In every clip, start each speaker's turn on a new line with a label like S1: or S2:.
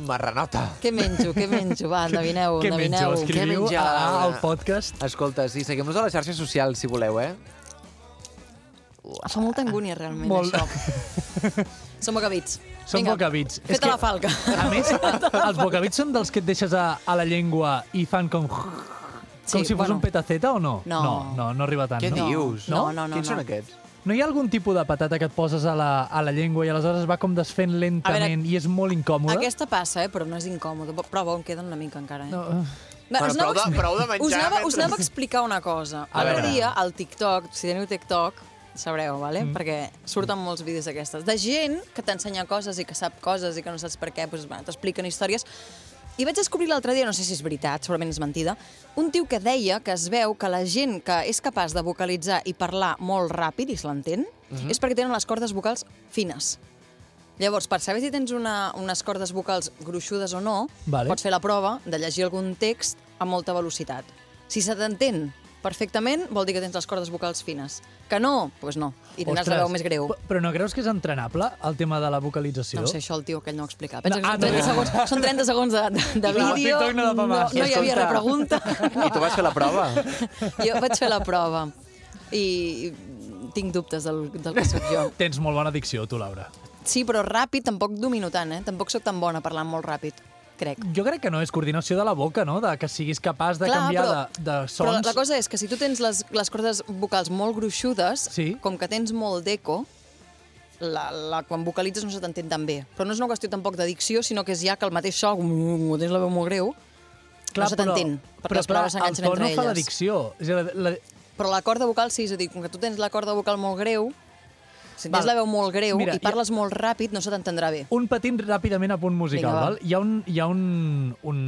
S1: marranota.
S2: Què menjo, què menjo? Va, endevineu,
S3: Què menjo?
S2: endevineu.
S1: Què
S3: Escriviu
S1: menja la
S3: a- al
S1: Laura?
S3: podcast.
S1: Escolta, sí, seguim-nos a les xarxes socials, si voleu, eh?
S2: Fa molta angúnia, realment,
S3: Molt.
S2: Molt. això. Són bocavits.
S3: Són
S2: Vinga,
S3: bocavits. És
S2: Feta
S3: que-
S2: la falca.
S3: A més, els bocavits són dels que et deixes a, a la llengua i fan com... Com
S2: Sí,
S3: si fos
S2: bueno.
S3: un petaceta o no?
S2: No.
S3: No, no, no arriba tant.
S1: Què
S3: no?
S1: dius?
S3: No?
S2: No, no,
S1: Quins
S2: no.
S1: són aquests?
S3: No hi ha algun tipus de patata que et poses a la, a la llengua i aleshores va com desfent lentament i és molt incòmode?
S2: Aquesta passa, eh, però no és incòmode. Però bo, em queden una mica encara. Eh?
S3: No, eh,
S2: Va,
S1: Bueno, prou
S2: us anava a
S1: de-
S2: expli-
S1: prou de
S2: Us
S1: menjar
S2: anava, us
S1: mentre-
S2: anava a explicar una cosa.
S3: A
S2: L'altre
S3: veure.
S2: dia, al TikTok, si teniu TikTok, sabreu, vale? Mm. perquè surten molts vídeos d'aquestes, de gent que t'ensenya coses i que sap coses i que no saps per què, doncs, bueno, t'expliquen històries. I vaig descobrir l'altre dia, no sé si és veritat, segurament és mentida, un tio que deia que es veu que la gent que és capaç de vocalitzar i parlar molt ràpid, i se l'entén, mm -hmm. és perquè tenen les cordes vocals fines. Llavors, per saber si tens una, unes cordes vocals gruixudes o no,
S3: Vale.
S2: pots fer la prova de llegir algun text a molta velocitat. Si se t'entén perfectament, vol dir que tens les cordes vocals fines. Que no, doncs no. I tindràs la veu més greu.
S3: pe- Però no creus que és entrenable, el tema de la vocalització?
S2: No sé, això el tio aquell no ho explicava. Pensa
S3: No,
S2: que
S3: ah,
S2: són 30,
S3: no.
S2: segons, són 30 segons de, de
S3: Clar,
S2: vídeo.
S3: TikTok no da pa
S2: no,
S3: más.
S2: no hi havia
S1: Escolta.
S2: repregunta.
S1: I tu vas fer la prova?
S2: Jo vaig fer la prova. I tinc dubtes del, del que sóc jo.
S3: Tens molt bona dicció, tu, Laura.
S2: Sí, però ràpid tampoc domino tant, eh? Tampoc sóc tan bona parlant molt ràpid, crec.
S3: Jo crec que no, és coordinació de la boca, no? De que siguis capaç de canviar de, de sons.
S2: Però la- la cosa és que si tu tens les, les cordes vocals molt gruixudes,
S3: Sí.
S2: com que tens molt d'eco, la, la, quan vocalitzes no se t'entén tan bé. Però no és una qüestió tampoc de dicció, sinó que és ja que el mateix so, com tens la veu molt greu, no se t'entén, perquè les paraules s'enganxen
S3: el to
S2: entre
S3: no fa la
S2: elles.
S3: dicció. És a dir, la, la,
S2: Però la corda vocal sí, és a dir, com que tu tens la corda vocal molt greu, si
S3: Val.
S2: tens la veu molt greu
S3: Mira,
S2: i parles molt ràpid, no se t'entendrà bé.
S3: un petit ràpidament a punt musical,
S2: Vinga, va.
S3: val? Hi ha, un, hi ha un, un,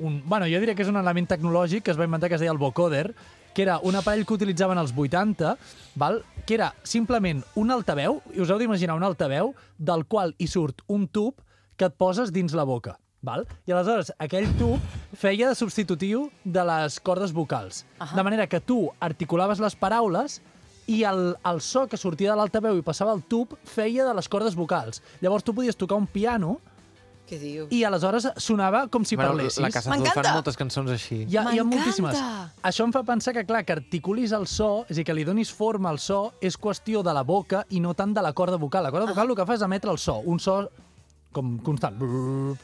S3: un... Bueno, jo diria que és un element tecnològic que es va inventar que es deia el vocoder, que era un aparell que utilitzaven als 80, val? que era simplement un altaveu, i us heu d'imaginar un altaveu, del qual hi surt un tub que et poses dins la boca. Val? I aleshores, aquell tub feia de substitutiu de les cordes vocals. Uh -huh. De manera que tu articulaves les paraules i el, el so que sortia de l'altaveu i passava al tub feia de les cordes vocals. Llavors tu podies tocar un piano
S2: Què dius?
S3: i aleshores sonava com si parlessis.
S1: la Casa Azul
S2: M'encanta.
S1: fan moltes cançons així.
S3: Hi ha, hi ha
S2: M'encanta!
S3: moltíssimes. Això em fa pensar que, clar, que articulis el so, és a dir, que li donis forma al so, és qüestió de la boca i no tant de la corda vocal. La corda vocal el que fa és emetre el so, un so com constant.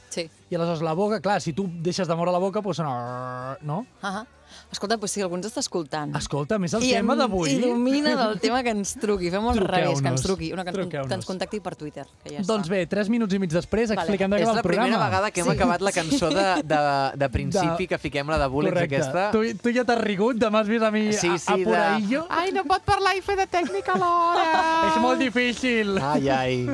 S2: Sí.
S3: I aleshores la boca, clar, si tu deixes de moure la boca, doncs sona... No?
S2: Ah Escolta, doncs si algú ens està escoltant...
S3: Escolta, més el
S2: I
S3: tema
S2: en-
S3: d'avui...
S2: I domina el tema que ens truqui. Fem al
S3: Truqueu-nos.
S2: revés, que ens truqui. Una, que, ens-
S3: Truqueu-nos.
S2: que ens contacti per Twitter, que ja
S3: Doncs
S2: està.
S3: bé, tres minuts i mig després
S2: Vale.
S3: expliquem de
S1: És
S3: què va
S1: la
S3: el
S1: primera
S3: programa.
S1: vegada que hem acabat la cançó de, de, de principi,
S3: De-
S1: que fiquem la de Bullets
S3: Correcte.
S1: aquesta.
S3: Tu, tu ja t'has rigut, demà has vist a mi
S1: Sí,
S3: a, a
S1: sí, de-
S3: Poraillo.
S4: Ai, no pot parlar i fer de tècnica alhora.
S3: És molt difícil.
S1: Ai, ai.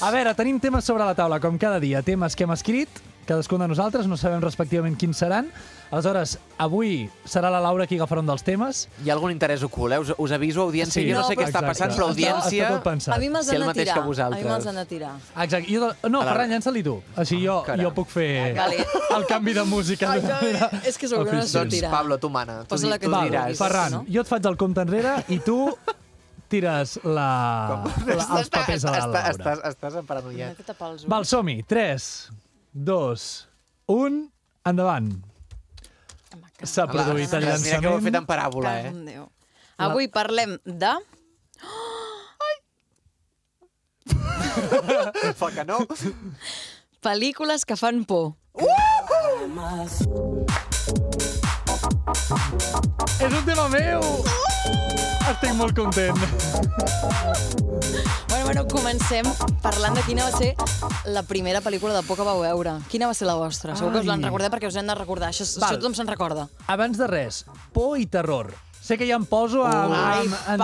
S3: A veure, tenim temes sobre la taula, com cada dia. Temes que hem escrit, cadascun de nosaltres, no sabem respectivament quins seran. Aleshores, avui serà la Laura qui agafarà un dels temes.
S1: Hi ha algun interès ocult, eh? Us, us aviso, audiència.
S3: Sí.
S1: Sí. Jo no,
S2: No,
S1: sé què
S2: però-
S1: està passant, però
S2: Exacte.
S1: audiència... doncs,
S3: Està, està tot pensat.
S2: A mi me'ls
S1: Si
S2: han
S1: el
S2: de
S1: mateix
S2: tirar.
S1: que vosaltres.
S2: A mi me'ls han de tirar.
S3: Exacte. Jo, de- no,
S1: A la- Ah,
S3: Ferran, llança-li tu. Així jo,
S1: caram.
S3: jo puc fer
S2: Vale.
S3: el canvi de música.
S2: Ai, ja, és que segur que no
S3: Oficial.
S2: sortirà.
S1: Doncs,
S2: Tirar.
S1: Pablo, tu mana. Tu,
S2: Posa la
S1: di-
S2: que
S1: tu
S2: tu
S3: Val,
S1: diràs.
S2: vulguis.
S3: Ferran,
S2: no?
S3: jo et faig el compte enrere i tu tires la, la, els
S1: Està-
S3: papers a la
S1: està-
S3: Laura.
S1: Estàs, estàs emparanoiat.
S2: Que tapar els ulls.
S3: Val, som-hi. 3, 2, 1, endavant. S'ha
S1: Home,
S3: produït
S1: Mira
S3: el
S1: que ho he fet
S3: llançament.
S1: en paràbola,
S2: Cago
S1: eh?
S2: en Déu. Avui parlem de...
S1: Fa que no.
S2: Pel·lícules que fan por.
S3: És un tema meu! Estic molt content.
S2: Bueno, bueno, comencem parlant de quina va ser la primera pel·lícula de por que vau veure. Quina va ser la vostra? Segur que us l'han
S3: Ai.
S2: recordat perquè us hem de recordar. Això,
S3: Val.
S2: això tothom se'n recorda.
S3: Abans de res, por i terror. Sé que ja em poso amb...
S2: Ai,
S3: amb, amb...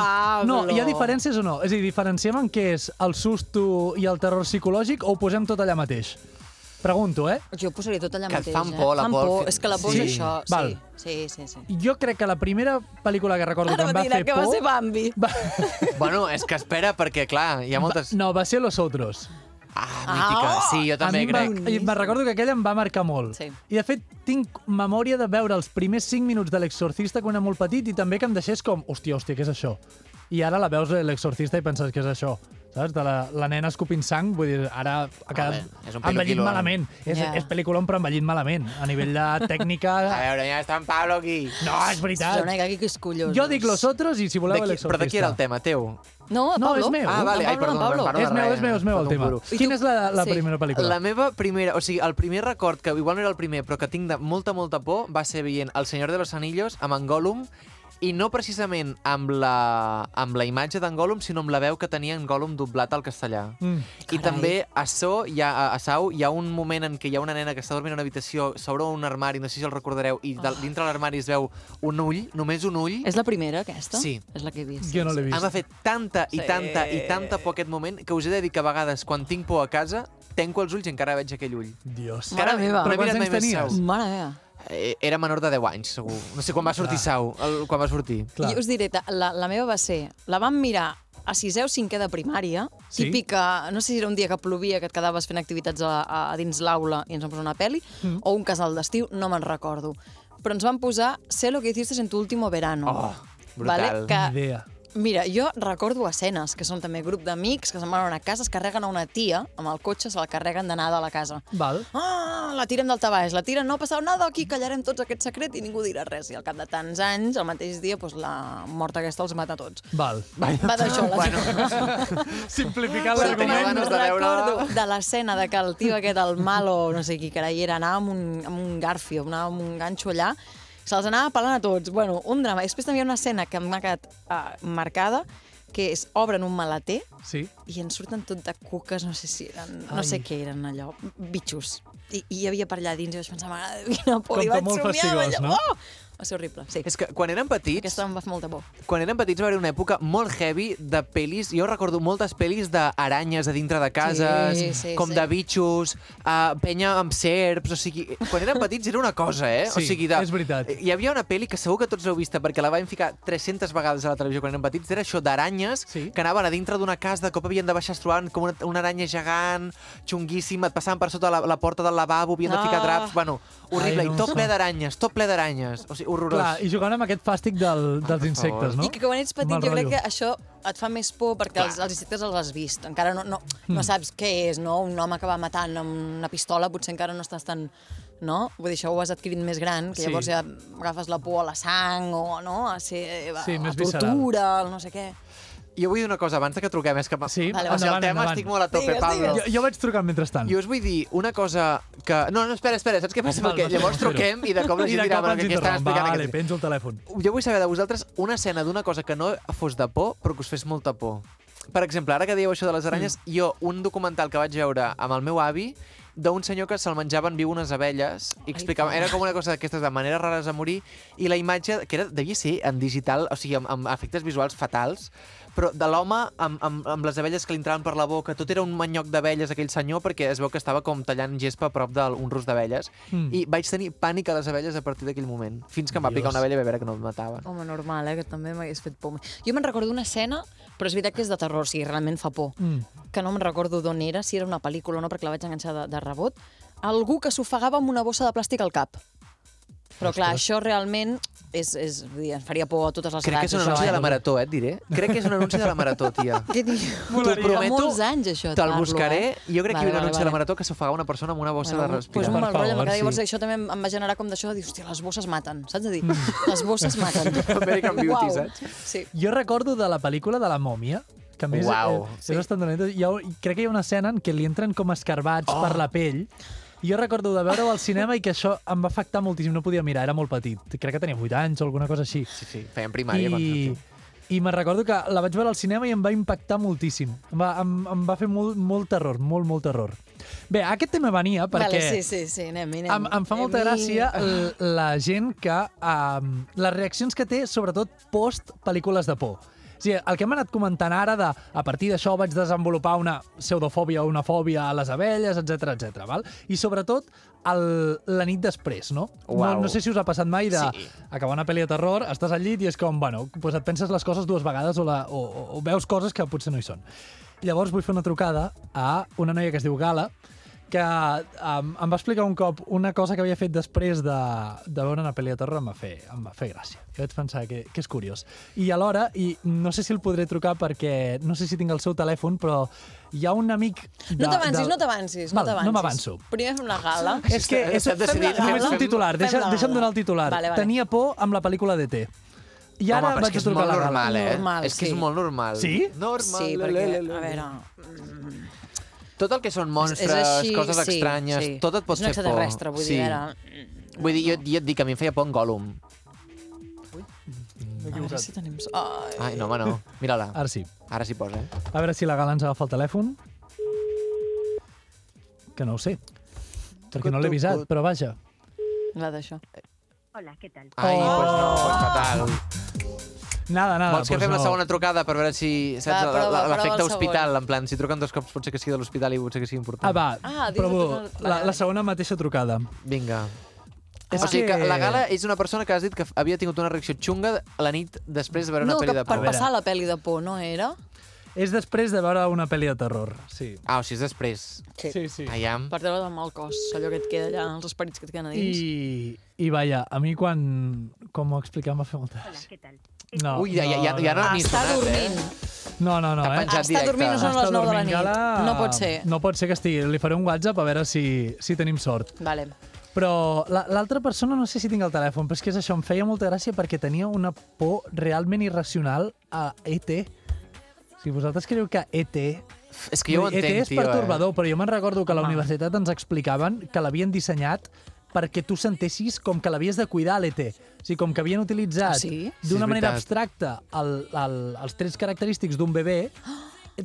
S3: No,
S2: Pablo.
S3: hi ha diferències o no? És a dir, diferenciem en què és el susto i el terror psicològic o ho posem tot allà mateix? Pregunto, eh?
S2: Jo ho posaria tot allà
S1: Que et
S2: mateix.
S1: fan
S2: eh?
S1: por, la
S2: fan
S1: por.
S2: por. És que la por
S3: Sí.
S2: és això.
S3: Val.
S2: Sí, sí, sí. sí.
S3: Jo crec que la primera pel·lícula que recordo que em va fer por...
S2: Bambi.
S3: va...
S1: Bueno, és que espera, perquè, clar, hi ha moltes...
S3: No, va ser Los Otros.
S1: Ah, mítica. Sí, jo també
S3: a
S1: crec.
S3: mi em va, recordo que aquella em va marcar molt.
S2: Sí.
S3: I, de fet, tinc memòria de veure els primers 5 minuts de l'Exorcista quan era molt petit i també que em deixés com, hòstia, hòstia, què és això? I ara la veus eh, l'Exorcista i penses, què és això? saps? De la, la nena escopint sang, vull dir, ara ha quedat
S1: bé, és un eh?
S3: envellit
S1: peliculón.
S3: malament. És,
S2: Ja.
S3: és pel·lículon, però envellit malament. A nivell de tècnica...
S1: A veure, ja està en Pablo aquí.
S3: No, és veritat.
S2: Hòstia, una mica aquí que és collosos.
S3: Jo dic los otros i si
S1: De
S3: voleu
S1: qui, però de qui era el
S3: l'exorcista.
S1: tema, teu?
S2: No, de
S3: No,
S2: Pablo.
S3: és meu. Ah,
S1: vale,
S2: De
S1: ai,
S2: Pablo, de
S1: perdó,
S2: Pablo.
S1: perdó.
S3: És meu, és meu, és meu
S1: eh?
S3: el
S1: Fa un
S3: tema.
S1: buru.
S2: I
S3: Quina
S2: tu-
S3: és la, la
S2: Sí.
S3: primera pel·lícula?
S1: La meva primera, o sigui, el primer record, que igual no era el primer, però que tinc de molta, molta por, va ser veient El Senyor de los Anillos amb en Gollum, i no precisament amb la, amb la imatge d'en Gollum, sinó amb la veu que tenia en Gollum doblat al castellà.
S3: Mm.
S1: I també a, so, hi ha, a- a Sau hi ha un moment en què hi ha una nena que està dormint en una habitació, s'obre un armari, no sé si el recordareu, i de, dintre l'armari es veu un ull, només un ull.
S2: Ah. És la primera, aquesta?
S1: Sí.
S2: És la que he vist.
S3: Jo no l'he
S1: Em va
S3: vist.
S1: fer tanta i
S2: Sí.
S1: tanta i tanta por aquest moment que us he de dir que a vegades, quan tinc por a casa, tenco els ulls i encara veig aquell ull.
S3: Dios.
S2: Mare meva.
S1: no he
S3: Però
S1: mirat
S3: quants
S1: mai
S3: anys
S1: més Sau.
S3: tenies?
S2: Mare meva.
S1: Eh, Era menor de 10 anys, segur. No sé quan va sortir Sau, el, quan va sortir.
S3: Clar.
S2: Jo us diré, ta- la, la meva va ser... La vam mirar a sisè o cinquè de primària,
S3: Sí?
S2: típica, no sé si era un dia que plovia, que et quedaves fent activitats a, a, a dins l'aula i ens vam posar una pel·li, mm. o un casal d'estiu, no me'n recordo. Però ens van posar Sé lo que hiciste en tu último verano.
S1: Oh,
S2: Vale?
S1: brutal.
S2: Que,
S3: Ni idea.
S2: Mira, jo recordo escenes, que són també grup d'amics, que se'n van a una casa, es carreguen a una tia, amb el cotxe se la carreguen d'anada a la casa.
S3: Val.
S2: Ah, la tiren d'alta baix, la tiren, no passarà nada, aquí callarem tots aquest secret i ningú dirà res. I al cap de tants anys, el mateix dia, doncs, la mort aquesta els mata a tots.
S3: Val.
S2: Va d'això, la
S1: Bueno,
S3: Simplificar
S1: Però tenia
S3: l'argument.
S1: ganes de
S2: recordo
S1: veure-la.
S2: de l'escena de que el tio aquest, el malo, no sé qui carai era, anava amb un, amb un garfio, anava amb un ganxo allà, se'ls anava pelant a tots. Bueno, un drama. I després també hi ha una escena que m'ha quedat uh, marcada, que és, obren un maleter
S3: Sí.
S2: i en surten tot de cuques, no sé si eren, no
S3: Ai.
S2: sé què eren allò, bitxos. I, i hi havia per allà dins i vaig pensar, mare, de Déu, quina por,
S3: Com
S2: i
S3: que
S2: vaig
S3: molt
S2: somiar amb
S3: fastigós,
S2: allò.
S3: no?
S2: Oh! Va ser horrible, sí.
S1: és que quan érem petits,
S2: Aquesta em va fer molta por.
S1: quan érem petits va haver una època molt heavy de pel·lis, jo recordo moltes pel·lis d'aranyes a dintre de cases,
S2: Sí, sí,
S1: com
S2: sí.
S1: de bitxos, uh, penya amb serps, o sigui, quan érem petits era una cosa, eh? o
S3: Sí,
S1: sigui, de,
S3: és veritat.
S1: Hi havia una pel·li que segur que tots l'heu vista perquè la vam ficar 300 vegades a la televisió quan érem petits, era això d'aranyes
S3: Sí.
S1: que anaven a dintre d'una casa, de cop havien de baixar es trobaven com una, una aranya gegant, xunguíssima, et passaven per sota la, la porta del lavabo, havien de ficar
S2: Ah.
S1: draps, bueno, horrible,
S3: Ai,
S1: i
S3: no
S1: tot
S3: sé.
S1: ple d'aranyes, tot ple d'aranyes, o sigui, horrorós.
S3: Clar, i jugant amb aquest fàstic del, dels
S1: per
S3: insectes,
S1: favor.
S3: no?
S2: I que quan ets petit
S3: Mal
S2: jo crec
S3: rotllo.
S2: que això et fa més por perquè els, els insectes els has vist. Encara no, no,
S3: Hmm.
S2: no saps què és, no? Un home que va matant amb una pistola potser encara no estàs tan... No? Vull dir, això ho has adquirit més gran, que
S3: Sí.
S2: llavors ja agafes la por a la sang o no? a, ser, a,
S3: Sí,
S2: a
S3: més visceral.
S2: tortura, al no sé què.
S1: Jo vull dir una cosa abans de que truquem, és que vale,
S3: Sí,
S2: Vale,
S1: o sigui, el
S3: endavant,
S1: tema
S3: endavant.
S1: estic molt a tope,
S2: Digues,
S1: Pablo.
S3: Jo, jo vaig trucant mentrestant.
S1: Jo us vull dir una cosa que... No, no, espera, espera, saps què passa?
S3: Val,
S1: Perquè
S3: no sé
S1: llavors
S3: com fer-ho.
S1: truquem i de cop la
S3: I
S1: gent
S3: de
S1: dirà,
S3: cop
S1: bueno,
S3: ens
S1: què estan
S3: interromp.
S1: explicant
S3: Vale,
S1: aquests?
S3: penjo el telèfon.
S1: Jo vull saber de vosaltres una escena d'una cosa que no fos de por, però que us fes molta por. Per exemple, ara que dieu això de les aranyes, mm. jo, un documental que vaig veure amb el meu avi, d'un senyor que se'l menjaven viu unes abelles i explicava, era com una cosa d'aquestes de maneres rares de morir i la imatge, que era, devia ser en digital, o sigui, amb, amb efectes visuals fatals, però de l'home amb, amb, amb les abelles que li entraven per la boca, tot era un manyoc d'abelles aquell senyor perquè es veu que estava com tallant gespa a prop d'un rus d'abelles
S3: Mm.
S1: mm. i vaig tenir pànic a les abelles a partir d'aquell moment, fins que em va picar
S3: Dios.
S1: una abella i va veure que no em matava.
S2: Home, normal, eh? Que també m'hagués fet por. Jo me'n recordo una escena, però és veritat que és de terror, o sigui, realment fa por.
S3: Mm.
S2: que no me'n recordo d'on era, si era una pel·lícula o no, perquè la vaig enganxar de, de rebot, algú que s'ofegava amb una bossa de plàstic al cap. Però clar, això realment és, és, vull dir, ens faria por a totes les
S1: Crec que
S2: edats.
S1: és un
S2: això,
S1: anunci
S2: eh?
S1: de la marató, eh, et diré. Crec que és un anunci de la marató, tia.
S2: Què dius?
S1: T'ho prometo.
S2: molts anys, això, et
S1: Te'l
S2: parlo,
S1: buscaré.
S2: eh?
S1: Jo crec que hi ha un
S2: Vale, vale,
S1: anunci de
S2: vale. doncs
S1: la marató que s'ofega una persona amb una bossa de
S2: pues
S1: respirar.
S2: un
S3: Per
S2: mal rotllo,
S3: favor,
S2: perquè
S3: sí.
S2: llavors això també em em va generar com d'això, dius, hòstia, les bosses maten, saps? De dir,
S1: Mm.
S2: les bosses maten.
S1: American Beauty,
S2: Uau.
S1: saps?
S2: Sí.
S3: Jo recordo de la pel·lícula de la mòmia, que a més
S1: Uau,
S3: és,
S1: sí.
S3: és bastant dolenta. Hi ha, crec que hi ha una escena en què li entren com escarbats
S1: Oh.
S3: per la pell, i jo recordo de veure-ho al cinema i que això em va afectar moltíssim, no podia mirar, era molt petit. Crec que tenia 8 anys o alguna cosa així.
S1: Sí, sí, feien primària. quan
S3: I,
S1: sortia.
S3: i me'n recordo que la vaig veure al cinema i em va impactar moltíssim. Em va, em, em va fer molt, molt terror, molt, molt terror. Bé, aquest tema venia perquè...
S2: Vale, sí, sí, sí, anem, anem.
S3: Em, em fa molta
S2: Anem.
S3: gràcia l- la gent que... Um, les reaccions que té, sobretot post-pel·lícules de por. O sigui, el que hem anat comentant ara de a partir d'això vaig desenvolupar una pseudofòbia o una fòbia a les abelles, etc etc. val? I sobretot el, la nit després, no?
S1: Uau.
S3: no? No sé si us ha passat mai de
S1: Sí.
S3: sí. acabar una pel·li de terror, estàs al llit i és com, bueno, doncs et penses les coses dues vegades o, la, o, o, o veus coses que potser no hi són. Llavors vull fer una trucada a una noia que es diu Gala, que um, em va explicar un cop una cosa que havia fet després de, de veure una pel·li de terror, em va fer, em va fer gràcia. Jo vaig pensar que, que és curiós. I alhora, i no sé si el podré trucar perquè no sé si tinc el seu telèfon, però hi ha un amic... De,
S2: No t'avancis, no t'avancis.
S3: Val,
S2: no t'avancis.
S3: no m'avanço.
S2: Primer fem la gala.
S3: És que és,
S1: Hem decidit-
S2: fem la
S3: només
S2: gala.
S3: un titular,
S2: Fem
S3: deixa,
S2: la
S3: deixa'm
S2: gala.
S3: donar el titular.
S2: Vale, vale.
S3: Tenia por amb la pel·lícula d'T. I ara
S1: Home, però és
S3: vaig
S1: que
S3: a
S1: és
S3: trucar
S1: molt
S3: a la gala.
S1: normal, eh?
S2: Normal,
S1: és que és
S2: sí.
S1: molt normal.
S3: Sí?
S1: Normal.
S2: Sí, perquè, a veure...
S1: Tot el que són monstres,
S2: és així,
S1: coses
S2: sí,
S1: estranyes,
S2: sí.
S1: tot et pot
S2: És un
S1: fer por.
S2: extraterrestre, vull dir, ara...
S1: Vull dir, jo, jo et dic que a mi em feia por en Gollum.
S2: A veure si tenim... Ai.
S1: Ai, no, home, no. Mira-la.
S3: Ara sí.
S1: Ara sí posa, eh?
S3: A veure si la gala ens agafa el telèfon. Que no ho sé. Perquè no l'he avisat, però vaja.
S2: Va d'això.
S5: Hola, ¿qué tal?
S1: Ai, oh! pues no, pues fatal.
S3: Nada, nada.
S1: Vols que
S3: doncs
S1: fem
S3: no.
S1: la segona trucada per veure si...
S2: Va,
S1: Saps,
S2: prova, prova el
S1: l'efecte
S2: segon.
S1: hospital, en plan, si truquen dos cops potser que sigui de l'hospital i potser que sigui important.
S3: Ah, va,
S2: Ah,
S3: ah,
S2: dius
S3: provo
S2: que no- vale,
S3: la,
S2: vale.
S3: la segona mateixa trucada.
S1: Vinga.
S3: És
S1: o sigui
S3: que-
S1: que la Gala és una persona que has dit que f- havia tingut una reacció xunga la nit després de veure una
S2: No,
S1: pel·li
S2: que
S1: de
S2: per
S1: por.
S2: passar la pel·li de por, no era?
S3: És després de veure una pel·li de terror, sí.
S1: Ah, o sigui, és després.
S3: Sí, sí.
S1: Aiam.
S2: Per treure del mal cos, allò que et queda allà, els esperits que et queden a dins.
S3: I, I vaja, a mi quan... Com ho explicàvem va fer molta
S5: Hola,
S3: gràcia.
S5: ¿qué tal?
S3: No,
S1: Ui, ja, ja, ja, ja no
S2: Ah,
S1: ni
S2: està
S1: sonat,
S2: dormint.
S1: eh?
S3: No, no, no,
S1: T'ha
S3: eh?
S1: penjat.
S2: Ah, Està
S1: Directe.
S2: dormint, no són
S3: Està
S2: les 9 de la
S3: dormint,
S2: nit.
S3: Gala.
S2: No pot ser.
S3: No pot ser que estigui. Li faré un WhatsApp a veure si, si tenim sort.
S2: Vale.
S3: Però la- l'altra persona, no sé si tinc el telèfon, però és que és això, em feia molta gràcia perquè tenia una por realment irracional a E.T. Si vosaltres creieu que E E.T.
S1: F- És que jo ho
S3: Vull dir,
S1: entenc,
S3: ET és
S1: tio, eh?
S3: pertorbador, però jo me'n recordo que a la
S2: Home.
S3: universitat ens explicaven que l'havien dissenyat perquè tu sentessis com que l'havies de cuidar, l'ET. O sigui, com que havien utilitzat
S2: Ah, sí?
S1: Sí, és
S3: d'una manera
S1: veritat.
S3: abstracta el, el, els trets característics d'un bebè,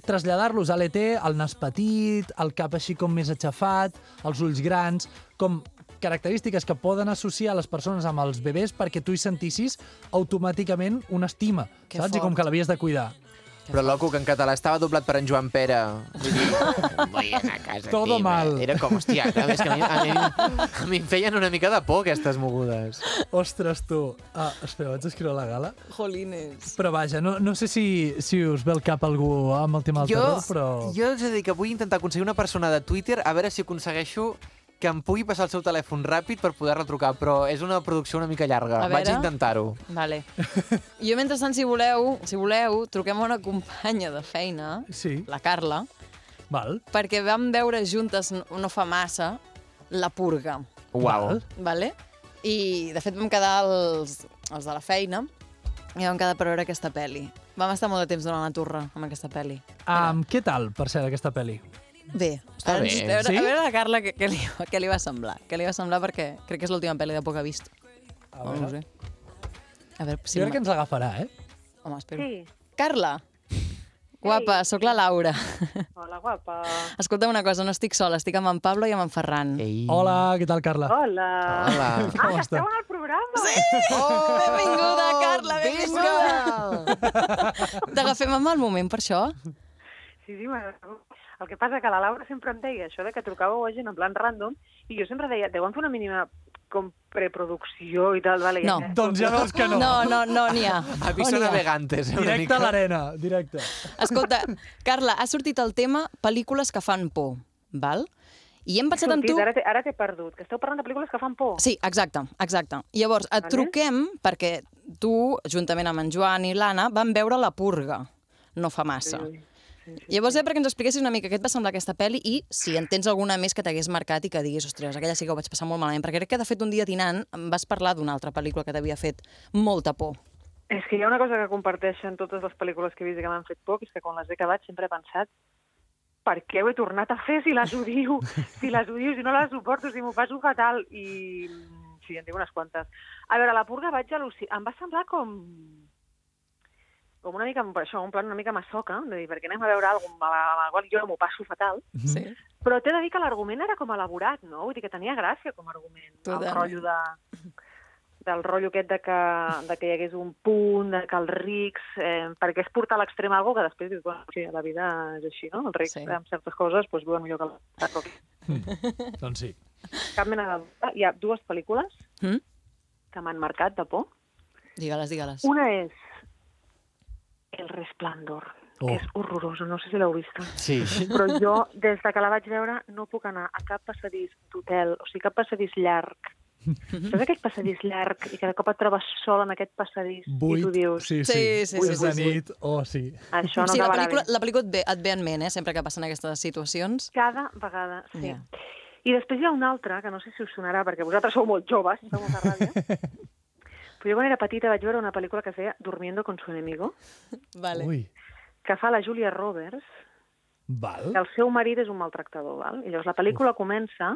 S3: traslladar-los a l'ET, el nas petit, el cap així com més aixafat, els ulls grans, com característiques que poden associar les persones amb els bebès perquè tu hi sentissis automàticament una estima,
S2: Que
S3: saps? I
S2: fort.
S3: com que l'havies de cuidar.
S1: Però loco, que en català estava doblat per en Joan Pere. Vull dir, vull anar a casa,
S3: Todo
S1: tio,
S3: mal.
S1: Era com, hòstia, clar, és que a mi, a, mi, a mi em feien una mica de por aquestes mogudes.
S3: Ostres, tu. Ah, espera, vaig escriure la gala.
S2: Jolines.
S3: Però vaja, no, no sé si, si us ve el cap algú amb el tema del
S1: Jo,
S3: terror, però...
S1: jo us he de dir que vull intentar aconseguir una persona de Twitter a veure si aconsegueixo que em pugui passar el seu telèfon ràpid per poder-la trucar, però és una producció una mica llarga.
S2: A
S1: Vaig
S2: veure.
S1: intentar-ho.
S2: Vale. Jo, mentrestant, si voleu, si voleu, truquem a una companya de feina,
S3: Sí,
S2: la Carla,
S3: val.
S2: perquè vam veure juntes no- no fa massa La Purga,
S1: Uau.
S3: Val.
S2: vale? I, de fet, vam quedar els, els de la feina i vam quedar per veure aquesta pel·li. Vam estar molt de temps donant la torre amb aquesta pel·li.
S3: Um, què tal, per cert, aquesta pel·li?
S2: Bé,
S1: Està
S2: ara
S1: bé.
S2: ens- A veure,
S3: Sí?
S2: a veure la Carla què, què, li, què li va semblar. Què li va semblar perquè crec que és l'última pel·li de poc que ha vist. A veure. No ho sé. A veure,
S3: Sí,
S2: si
S3: jo crec que ens l'agafarà, eh?
S2: Home, espero.
S5: Sí.
S2: Carla! Guapa, sóc la Laura.
S5: Hola, guapa.
S2: Escolta una cosa, no estic sola, estic amb en Pablo i amb en Ferran.
S1: Ei.
S3: Hola, què tal, Carla?
S5: Hola.
S1: Hola.
S5: Ah,
S3: Com està?
S5: que esteu en el programa.
S1: Oh,
S2: Benvinguda, Carla, benvinguda. T'agafem amb el moment per això?
S5: Sí, sí, bueno. El que passa que la Laura sempre em deia això de que trucàveu a gent en plan random i jo sempre deia, deuen fer una mínima com preproducció i tal, vale?
S2: No.
S5: Ja.
S3: Doncs ja veus que no.
S2: No, no, no n'hi ha.
S1: A mi
S2: No
S1: són
S2: n'hi ha.
S1: navegantes, eh, una
S3: Directe a
S1: mica.
S3: l'arena, directe.
S2: Escolta, Carla, ha sortit el tema pel·lícules que fan por, val? I hem pensat en
S5: Sortit,
S2: tu...
S5: ara, t'he- ara t'he perdut, que esteu parlant de pel·lícules que fan por.
S2: Sí, exacte, exacte. Llavors, et
S5: Vale.
S2: truquem perquè tu, juntament amb en Joan i l'Anna, van veure La Purga no fa massa. Llavors, era perquè ens expliquessis una mica què et va semblar aquesta pel·li i si en tens alguna més que t'hagués marcat i que diguis, ostres, aquella sí que ho vaig passar molt malament, perquè crec que, de fet, un dia dinant em vas parlar d'una altra pel·lícula que t'havia fet molta por.
S5: És que hi ha una cosa que comparteixen totes les pel·lícules que he vist i que m'han fet por, que és que quan les he acabat sempre he pensat per què ho he tornat a fer si les odio, si les odio, si no les suporto, si m'ho passo fatal. I mm, sí, en tinc unes quantes. A veure, la purga vaig al·lucinar. Em va semblar com com una mica, això, un plan una mica massoca, de dir, perquè anem a veure alguna cosa amb la qual jo m'ho passo fatal.
S2: Sí.
S5: Però t'he de dir que l'argument era com elaborat, no? Vull dir que tenia gràcia com a argument.
S2: Totalment.
S5: El rotllo de, del rotllo aquest de que, de que hi hagués un punt, de que els rics... Eh, perquè es porta a l'extrem algo que després dius, bueno, sí, la vida és així, no? Els rics
S2: Sí.
S5: sí. amb certes coses doncs, viuen millor que la però
S3: doncs sí.
S5: Cap mena de... dubte. Hi ha dues pel·lícules
S2: Mm?
S5: que m'han marcat de por.
S2: Digue-les, digue-les.
S5: Una és El resplendor.
S3: Oh.
S5: És horrorosa, no sé si l'heu vista.
S1: Sí.
S5: Però jo, des de que la vaig veure, no puc anar a cap passadís d'hotel, o sigui, cap passadís llarg. Saps aquest passadís llarg i que de cop et trobes sol en aquest passadís i tu dius,
S3: Sí, sí,
S2: Sí, sí,
S3: Vuit
S2: sí,
S3: de
S2: sí, sí.
S3: nit, oh, sí.
S5: això no
S2: sí, la
S5: acabarà
S2: pel·lícula,
S5: bé.
S2: la pel·lícula et ve, et ve en ment, eh, sempre que passen aquestes situacions.
S5: Cada vegada, sí.
S2: Ja.
S5: I després hi ha una altra, que no sé si us sonarà, perquè vosaltres sou molt joves, feu molta ràbia. Però jo quan era petita vaig veure una pel·lícula que es deia Durmiendo con su enemigo,
S2: Vale.
S3: Ui,
S5: que fa la Julia Roberts,
S3: val.
S5: que el seu marit és un maltractador, val? I llavors la pel·lícula comença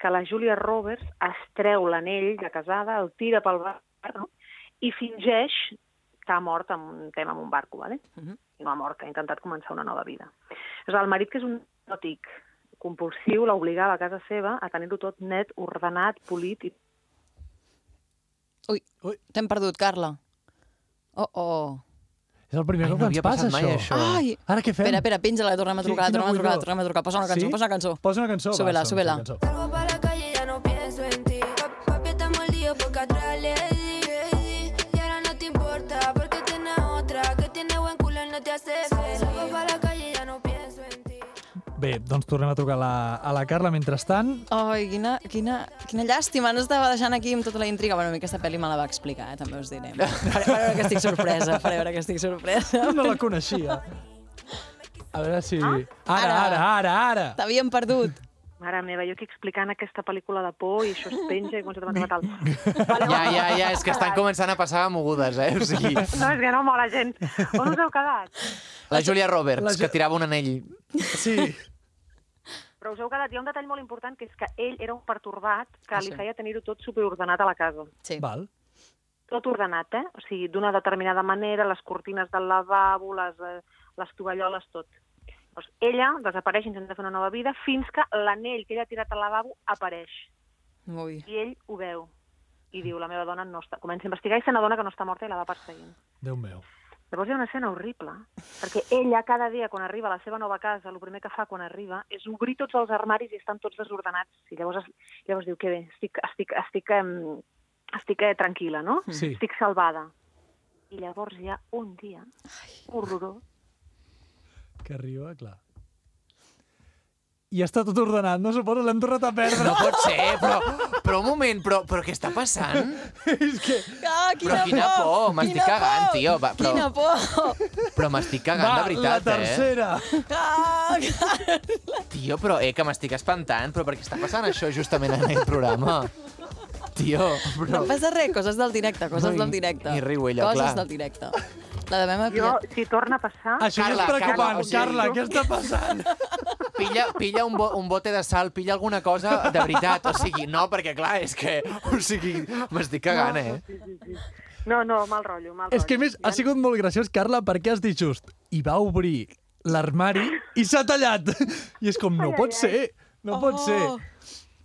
S5: que la Julia Roberts es treu l'anell de casada, el tira pel bar, no? i fingeix que ha mort amb un tema amb un barco, vale?
S2: Mhm.
S5: i no ha mort, que ha intentat començar una nova vida. És el marit que és un nòtic compulsiu l'obligava a casa seva a tenir-ho tot net, ordenat, polit i
S2: Ui,
S3: Ui.
S2: t'hem perdut, Carla. Oh, oh.
S3: És el primer
S1: Ai,
S3: cop
S1: no
S3: que ens
S1: havia
S3: passa,
S1: passat mai,
S3: això.
S1: això.
S2: Ai!
S3: Ara què fem?
S2: Espera, espera, penja-la, torna'm a trucar,
S3: quina
S2: torna'm a trucar,
S3: buidor.
S2: torna'm a trucar. Posa una cançó,
S3: Sí?
S2: posa una cançó.
S3: Posa una cançó,
S2: Súbela,
S3: va, som,
S2: súbela.
S3: som, cançó.
S6: Salgo para la calle y ya no pienso en ti. Pa- Papi, estamos líos porque atrás le di, le di. Y ahora no te importa porque tienes otra. Que tiene buen culo y no te hace feliz. Salgo para la calle y ya no pienso en ti.
S3: Bé, doncs tornem a trucar a la, a la Carla. Mentrestant,
S2: Ai, quina, quina, quina llàstima, no estava deixant aquí amb tota la intriga. Bueno, a mi aquesta pel·li me la va explicar, eh, també us diré. Faré, faré veure que estic sorpresa, faré veure que estic sorpresa.
S3: no la coneixia. A veure si...
S1: Ah?
S3: Ara,
S2: Ara.
S3: ara, ara, ara.
S2: T'havíem perdut.
S5: Mare meva, jo aquí explicant aquesta pel·lícula de por i això es penja i comença a matar
S1: Ja, ja, ja, és que estan començant a passar mogudes, eh? O sigui,
S5: No, és que no mola gent. On us heu quedat?
S1: la Julia
S3: La
S1: Roberts,
S3: Ju-
S1: que tirava un anell.
S3: Sí.
S5: Però us heu quedat, hi ha un detall molt important, que és que ell era un pertorbat que
S2: Ah,
S5: li
S2: sí.
S5: feia tenir-ho tot superordenat a la casa.
S2: Sí.
S3: Val.
S5: Tot ordenat, eh? O sigui, d'una determinada manera, les cortines del lavabo, les, eh, les tovalloles, tot. Llavors, ella desapareix intenta fer una nova vida fins que l'anell que ella ha tirat al lavabo apareix.
S2: Ui.
S5: I ell ho veu.
S2: Mm.
S5: I diu, la meva dona no està... Comença a investigar i se n'adona que no està morta i la va perseguint.
S3: Déu meu.
S5: Llavors hi ha una escena horrible, perquè ella cada dia quan arriba a la seva nova casa, el primer que fa quan arriba és obrir tots els armaris i estan tots desordenats. I llavors, es, llavors diu, que bé, estic, estic, estic, em, estic eh, tranquil·la, no?
S3: Sí.
S5: Estic salvada. I llavors hi ha un dia horrorós.
S3: Que arriba, clar. I està tot ordenat, no suposo? L'hem tornat a perdre.
S1: No pot ser, però, però un moment, però, però què està passant?
S3: és que...
S2: Ah, quina
S1: Però quina
S2: por!
S1: por, m'estic
S2: Quina
S1: cagant,
S2: por!
S1: tio, va, però-
S2: Quina por!
S1: Però m'estic cagant,
S3: Va,
S1: de veritat,
S3: la tercera. Eh?
S2: Ah,
S1: eh? Tio, però eh, que m'estic espantant, però per què està passant això justament en aquest programa? Tio, però...
S2: no passa res, coses del directe, coses
S1: No, i-
S2: del directe.
S1: i riu ella,
S2: coses
S1: clar.
S2: del directe. La devem haver
S5: Jo,
S2: pillat.
S5: si torna a passar...
S3: Això
S1: Carla,
S3: ja és preocupant.
S1: Carla, o
S3: Carla,
S1: sigui,
S3: Carla
S5: jo-
S3: què està passant?
S1: Pilla, pilla un, bo, un bote de sal, pilla alguna cosa de veritat. O sigui, no, perquè clar, és que... O sigui, m'estic cagant, eh?
S5: No, no, mal rotllo, mal rotllo.
S3: És que, a més,
S5: Ja
S3: ha sigut molt graciós, Carla, perquè has dit just i va obrir l'armari i s'ha tallat. I és com, no pot ser, no pot ser.
S1: Oh.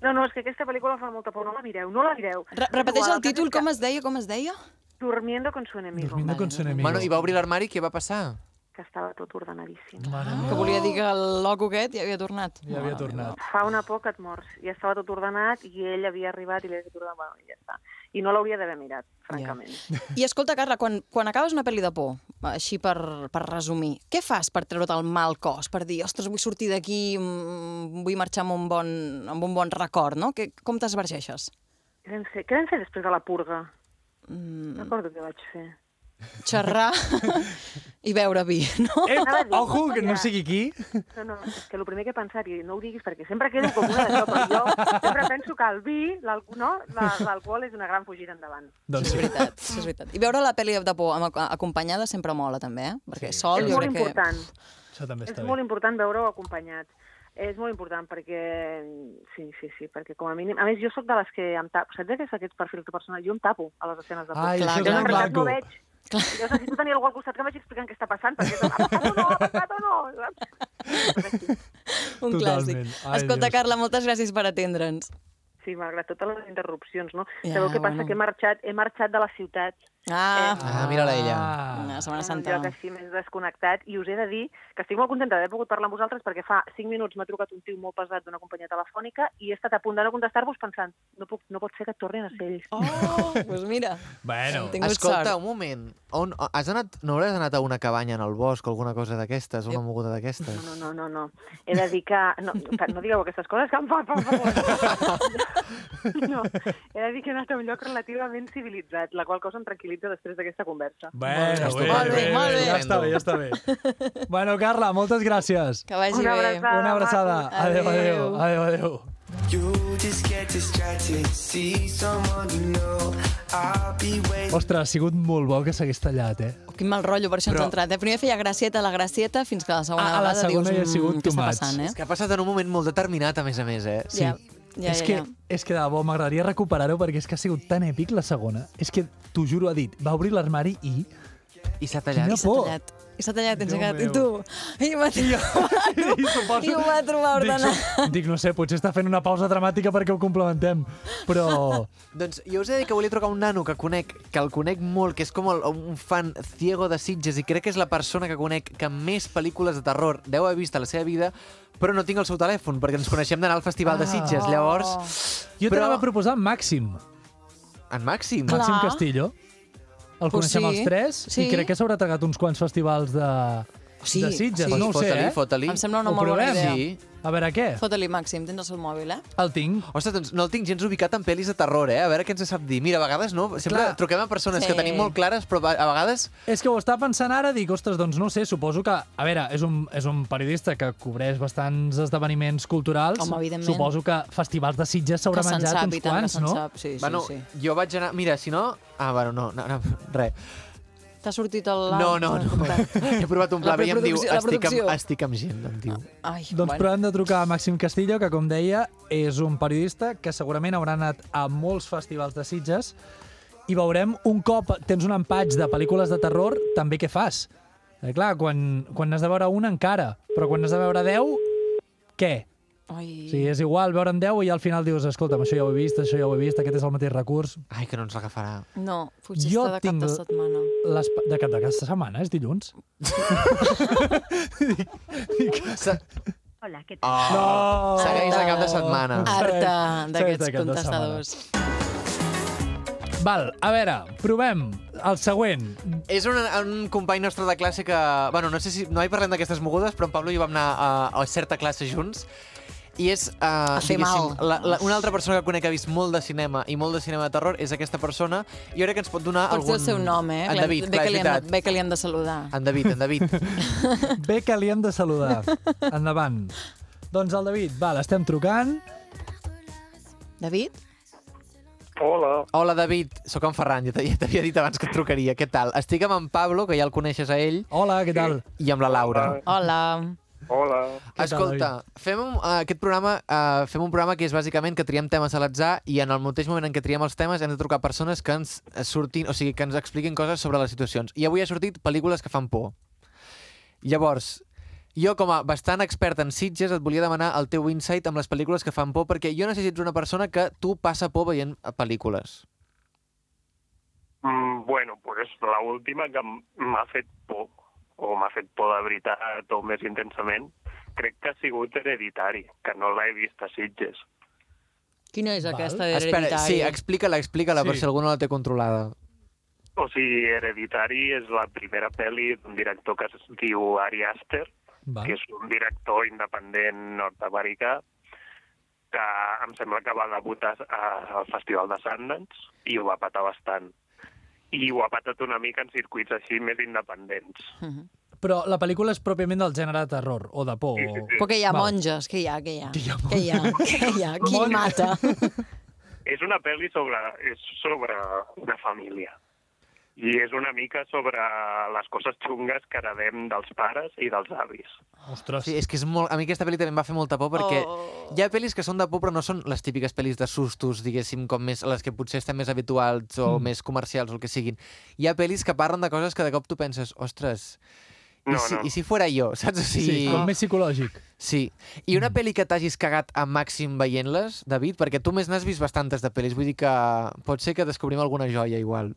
S5: No, no, és que aquesta pel·lícula fa molta por, no la mireu, no la mireu.
S2: Re Repeteix
S5: Igual,
S2: el títol, com es deia, com es deia?
S5: Durmiendo con su enemigo,
S3: Dormindo con su enemigo.
S1: Bueno, i va obrir l'armari, què va passar?
S5: que estava tot ordenadíssim.
S3: Mare
S2: Que volia dir que el loco aquest ja havia tornat.
S3: Ja
S2: Mare
S3: havia
S2: meva.
S3: tornat.
S5: fa una por que et mors. Ja estava tot ordenat i ell havia arribat i li havia dit, bueno, i ja està. I no l'hauria d'haver mirat, francament. Yeah.
S2: I escolta, Carla, quan, quan acabes una pel·li de por, així per, per resumir, què fas per treure't el mal cos? Per dir, ostres, vull sortir d'aquí, mm, vull marxar amb un bon, amb un bon record, no? Que, com t'esvergeixes?
S5: Què vam fer, què vam fer després de la purga? Mm. Recordo què vaig fer.
S2: Xerrar i beure vi, no?
S3: Ep, Eh, ojo, que no sigui aquí.
S5: No, no, és que el primer que he pensat, i no ho diguis perquè sempre quedo com una d'això, però jo sempre penso que el vi, l'alcohol no, la- l'alcohol és una gran fugida endavant.
S3: Doncs
S2: Això és
S3: sí.
S2: veritat, això
S5: Ah.
S2: és veritat. I veure la pel·li de por amb, acompanyada sempre mola, també, eh? Perquè sí. sol
S5: és
S2: jo
S5: molt
S2: crec
S5: important.
S3: Això també
S5: És
S3: està
S5: molt
S3: bé.
S5: important veure-ho acompanyat. És molt important perquè... Sí, sí, sí, perquè com a mínim... A més, jo sóc de les que em tapo. Saps aquest, aquest perfil que personal? Jo em tapo a les escenes de por.
S3: Ai,
S2: Clar,
S3: això és
S5: Jo,
S2: clar,
S5: en
S3: molt
S2: clar.
S5: realitat, no
S3: maco.
S5: veig. Jo necessito tenir algú al costat que em vagi explicant què està passant, perquè és, ha passat o no, ha passat o no. saps?
S2: que un
S3: Totalment.
S2: clàssic.
S3: Ai,
S2: Escolta,
S3: Dios.
S2: Carla, moltes gràcies per atendre'ns.
S5: sí, malgrat totes les interrupcions, no?
S2: Ja,
S5: Ja, Sabeu què passa?
S2: bueno.
S5: Que he marxat, he marxat de la ciutat
S2: Ah,
S1: Ah, mira-la ella.
S5: Eh.
S2: ah.
S3: Ah.
S2: Setmana
S5: en un
S2: Santa.
S5: lloc així més desconnectat i us he de dir que estic molt contenta d'haver pogut parlar amb vosaltres perquè fa 5 minuts m'ha trucat un tio molt pesat d'una companyia telefònica i he estat a punt de no contestar-vos pensant no, puc, no pot ser que tornin a ser ells.
S2: Oh, doncs pues mira.
S3: Bueno,
S2: Hem tingut
S1: Escolta,
S2: sort.
S1: un moment. On, on- has anat, no hauràs anat a una cabanya en el bosc o alguna cosa d'aquestes, una moguda d'aquestes?
S5: No, no, no, no, no. He de dir que... No, que no digueu aquestes coses, que em fa per favor. No, he de dir que he anat a un lloc relativament civilitzat, la qual cosa em tranquil·litza després d'aquesta conversa.
S3: Bueno,
S1: Molt bé,
S3: bé,
S2: molt bé, molt bé.
S3: Ja està bé, ja està bé. bueno, Carla, moltes gràcies.
S2: Que vagi
S5: Una
S2: bé.
S5: abraçada.
S3: Una abraçada. Adéu, adéu,
S2: Adéu.
S3: adéu, adéu.
S7: You just get distracted, see someone you know. I'll be waiting.
S3: Ostres, ha sigut molt bo que s'hagués tallat, eh?
S2: Oh, Quin mal rotllo, per això
S1: Però-
S2: Però... ens ha entrat. Eh? Primer feia gracieta, la gracieta, fins que la segona
S3: Ah, a la
S2: vegada
S3: segona
S2: dius,
S3: ja ha sigut
S2: "Mm, què
S3: too
S2: està
S3: much."
S2: passant, eh?
S1: És que ha passat en un moment molt determinat, a més a més, eh?
S2: Ja, ja,
S3: és,
S2: ja,
S3: que,
S2: ja.
S3: és que de debò m'agradaria recuperar-ho perquè és que ha sigut tan èpic la segona. És que, t'ho juro, ha dit, va obrir l'armari i...
S1: I s'ha
S3: Quina
S1: tallat.
S2: I s'ha
S3: por.
S2: tallat. I s'ha tallat, ens
S3: Déu
S2: ha quedat. I
S3: meu.
S2: tu? I va trobar...
S3: I, suposo...
S2: I ho va trobar ordenat.
S3: Dic, dic, no sé, potser està fent una pausa dramàtica perquè ho complementem, però...
S1: Doncs jo us he de dir que volia trucar a un nano que conec, que el conec molt, que és com el, un fan ciego de Sitges i crec que és la persona que conec que més pel·lícules de terror deu haver vist a la seva vida, però no tinc el seu telèfon, perquè ens coneixem d'anar al Festival de
S3: Ah.
S1: Sitges. Llavors,
S3: Jo
S1: Però-
S3: t'anava a proposar Màxim,
S1: en Màxim.
S2: Clar.
S3: Màxim Castillo. El
S2: Pues
S3: coneixem
S2: sí,
S3: els tres
S2: sí.
S3: i crec que s'haurà tragat uns quants festivals de,
S2: Sí,
S3: de Sitges.
S2: sí.
S3: No ho sé,
S1: fota-li,
S3: eh?
S1: fota-li.
S2: Em sembla una
S3: Ho
S2: molt
S3: provem?
S2: bona idea.
S1: Sí.
S3: A veure què?
S2: Fota-li, Màxim, tens el seu mòbil, eh?
S3: El tinc.
S1: Ostres, doncs no el tinc gens ubicat en pel·lis de terror, eh? A veure què ens sap dir. Mira, a vegades no, sempre
S3: Clar.
S1: truquem a persones
S2: Sí.
S1: que tenim molt clares, però a vegades...
S3: És que ho estava pensant ara, dic, ostres, doncs no ho sé, suposo que... A veure, és un, és un periodista que cobreix bastants esdeveniments culturals.
S2: Home, evidentment.
S3: Suposo que festivals de Sitges
S2: Que
S3: s'haurà
S2: se'n
S3: menjat
S2: sap,
S3: uns
S2: i tant, que
S3: quants,
S2: se'n
S3: no?
S2: sap. Sí, sí,
S1: bueno,
S2: sí.
S1: jo vaig anar... Mira, si no... Ah, bueno, no, no, no res.
S2: T'ha sortit el...
S1: No, no, no. He provat un pla
S2: La
S1: B i em diu,
S2: preproducció, la
S1: estic amb, estic
S2: producció."
S1: amb gent, em diu.
S2: Ai,
S3: Doncs bueno. però hem de trucar a Màxim Castillo, que com deia, és un periodista que segurament haurà anat a molts festivals de Sitges i veurem un cop tens un empatx de pel·lícules de terror, també què fas? Eh, clar, quan, quan n'has de veure una encara, però quan n'has de veure 10, què?
S2: Ai,
S3: O sigui, és igual veure'n 10 i al final dius, escolta'm, això ja ho he vist, això ja ho he vist, aquest és el mateix recurs.
S1: Ai, que no ens l'agafarà.
S2: no, potser
S3: Jo
S2: està de cap
S3: tinc-
S2: de setmana.
S3: Les... pa- De cap de aquesta setmana, és dilluns?
S1: Se...
S8: Hola, ¿qué tal?
S1: Oh,
S3: No!
S1: Segueix de cap de setmana.
S2: Harta
S3: Segueix de
S2: d'aquests
S3: cap de
S2: contestadors.
S3: Val, a veure, provem el següent.
S1: És un, un company nostre de classe que... Bueno, no sé si... No hi parlem d'aquestes mogudes, però en Pablo i jo vam anar a, a certa classe junts i és, uh,
S2: fer mal.
S1: la, la, una altra persona que conec que ha vist molt de cinema i molt de cinema de terror és aquesta persona i jo crec que ens pot donar
S2: Pots dir
S1: algun...
S2: el seu nom, eh?
S1: En
S2: Li hem-
S1: David,
S2: bé,
S1: clar,
S2: que
S1: és
S2: li hem de,
S1: veritat. Ah.
S2: bé que li hem de saludar.
S1: En David, en David.
S3: Bé que li hem de saludar. Endavant. Doncs el David, val, estem trucant.
S2: David?
S9: Hola,
S1: Hola, David, sóc en Ferran, ja t'ha- ja t'havia dit abans que et trucaria. Què tal? Estic amb en Pablo, que ja el coneixes a ell,
S3: Hola, què tal?
S1: i amb la Laura.
S9: Hola.
S2: Hola.
S9: hola.
S3: Què tal,
S1: Escolta, fem un, uh, aquest programa uh, fem un programa que és bàsicament que triem temes a l'atzar i en el mateix moment en què triem els temes hem de trucar persones que ens eh, surtin, o sigui, que ens expliquin coses sobre les situacions. I avui ha sortit pel·lícules que fan por. Llavors, jo com a bastant expert en Sitges et volia demanar el teu insight amb les pel·lícules que fan por perquè jo no sé si ets una persona que tu passa por veient eh, pel·lícules.
S9: Mm, bueno, pues la última que m- m'ha fet por, o m'ha fet por de veritat o més intensament, crec que ha sigut Hereditari, que no l'he vist a Sitges.
S2: Quina és
S3: Val.
S2: aquesta
S1: Espera,
S2: d'hereditari?
S1: sí, explica-la, explica-la, sí. per
S3: Sí.
S1: si algú no la té controlada.
S9: O sigui, Hereditari és la primera pel·li d'un director que es diu Ari Aster,
S3: Va.
S9: que és un director independent nord-americà que em sembla que va debutar a- al Festival de Sundance i ho va patar bastant. I ho ha patat una mica en circuits així més independents.
S2: Mhm.
S3: Però la pel·lícula és pròpiament del gènere de terror o de por. O...
S2: Però que hi ha
S3: Val.
S2: monges, que hi ha, que hi ha.
S3: hi ha
S2: Que hi ha, que hi ha. Qui mata?
S9: És una pel·li sobre, és sobre una família. I és una mica sobre les coses xungues que heredem dels pares i dels avis.
S3: Ostres.
S1: Sí, és que és molt... a mi aquesta pel·li també em va fer molta por perquè oh. hi ha pel·lis que són de por però no són les típiques pel·lis de sustos, diguéssim, com més, les que potser estan més habituals o mm. més comercials o el que siguin. Hi ha pel·lis que parlen de coses que de cop tu penses, ostres, I,
S9: No,
S1: si,
S9: no.
S1: I si fuera jo, saps? O
S3: Sí, sí,
S1: sigui,
S3: com més psicològic.
S1: Sí. I una pel·li que t'hagis cagat a màxim veient-les, David? Perquè tu més n'has vist bastantes de pel·lis, vull dir que pot ser que descobrim alguna joia igual.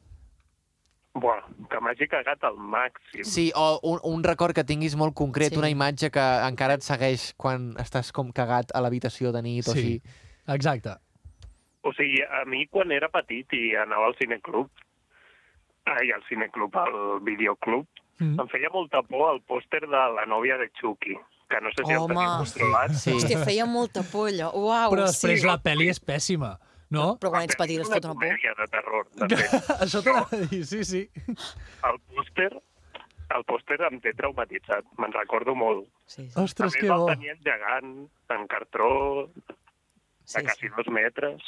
S9: Buah, que m'hagi cagat al màxim.
S1: Sí, o un, un record que tinguis molt concret,
S2: Sí.
S1: sí. una imatge que encara et segueix quan estàs com cagat a l'habitació de nit o
S3: Sí.
S1: així.
S3: Exacte.
S9: O sigui, a mi quan era petit i anava al cineclub, ai, al cineclub, al videoclub,
S3: Mm.
S9: em feia molta por el pòster de la nòvia de Chucky, que no sé si el
S2: Home.
S9: teniu controlat.
S1: Sí.
S2: Hòstia, feia molta polla. Uau,
S3: Però després
S2: Oh, sí.
S3: la pel·li és pèssima, no?
S2: Però quan ets petit et
S9: És una
S2: fot una por.
S9: comèdia de terror, de fet.
S3: Això t'ho ha de dir, sí, sí.
S9: El pòster, el pòster em té traumatitzat, me'n recordo molt.
S2: Sí, sí.
S9: A
S3: Ostres,
S9: més,
S3: que
S9: el
S3: bo.
S9: tenia en gegant, en cartró,
S2: sí,
S9: de
S2: sí.
S9: quasi dos metres.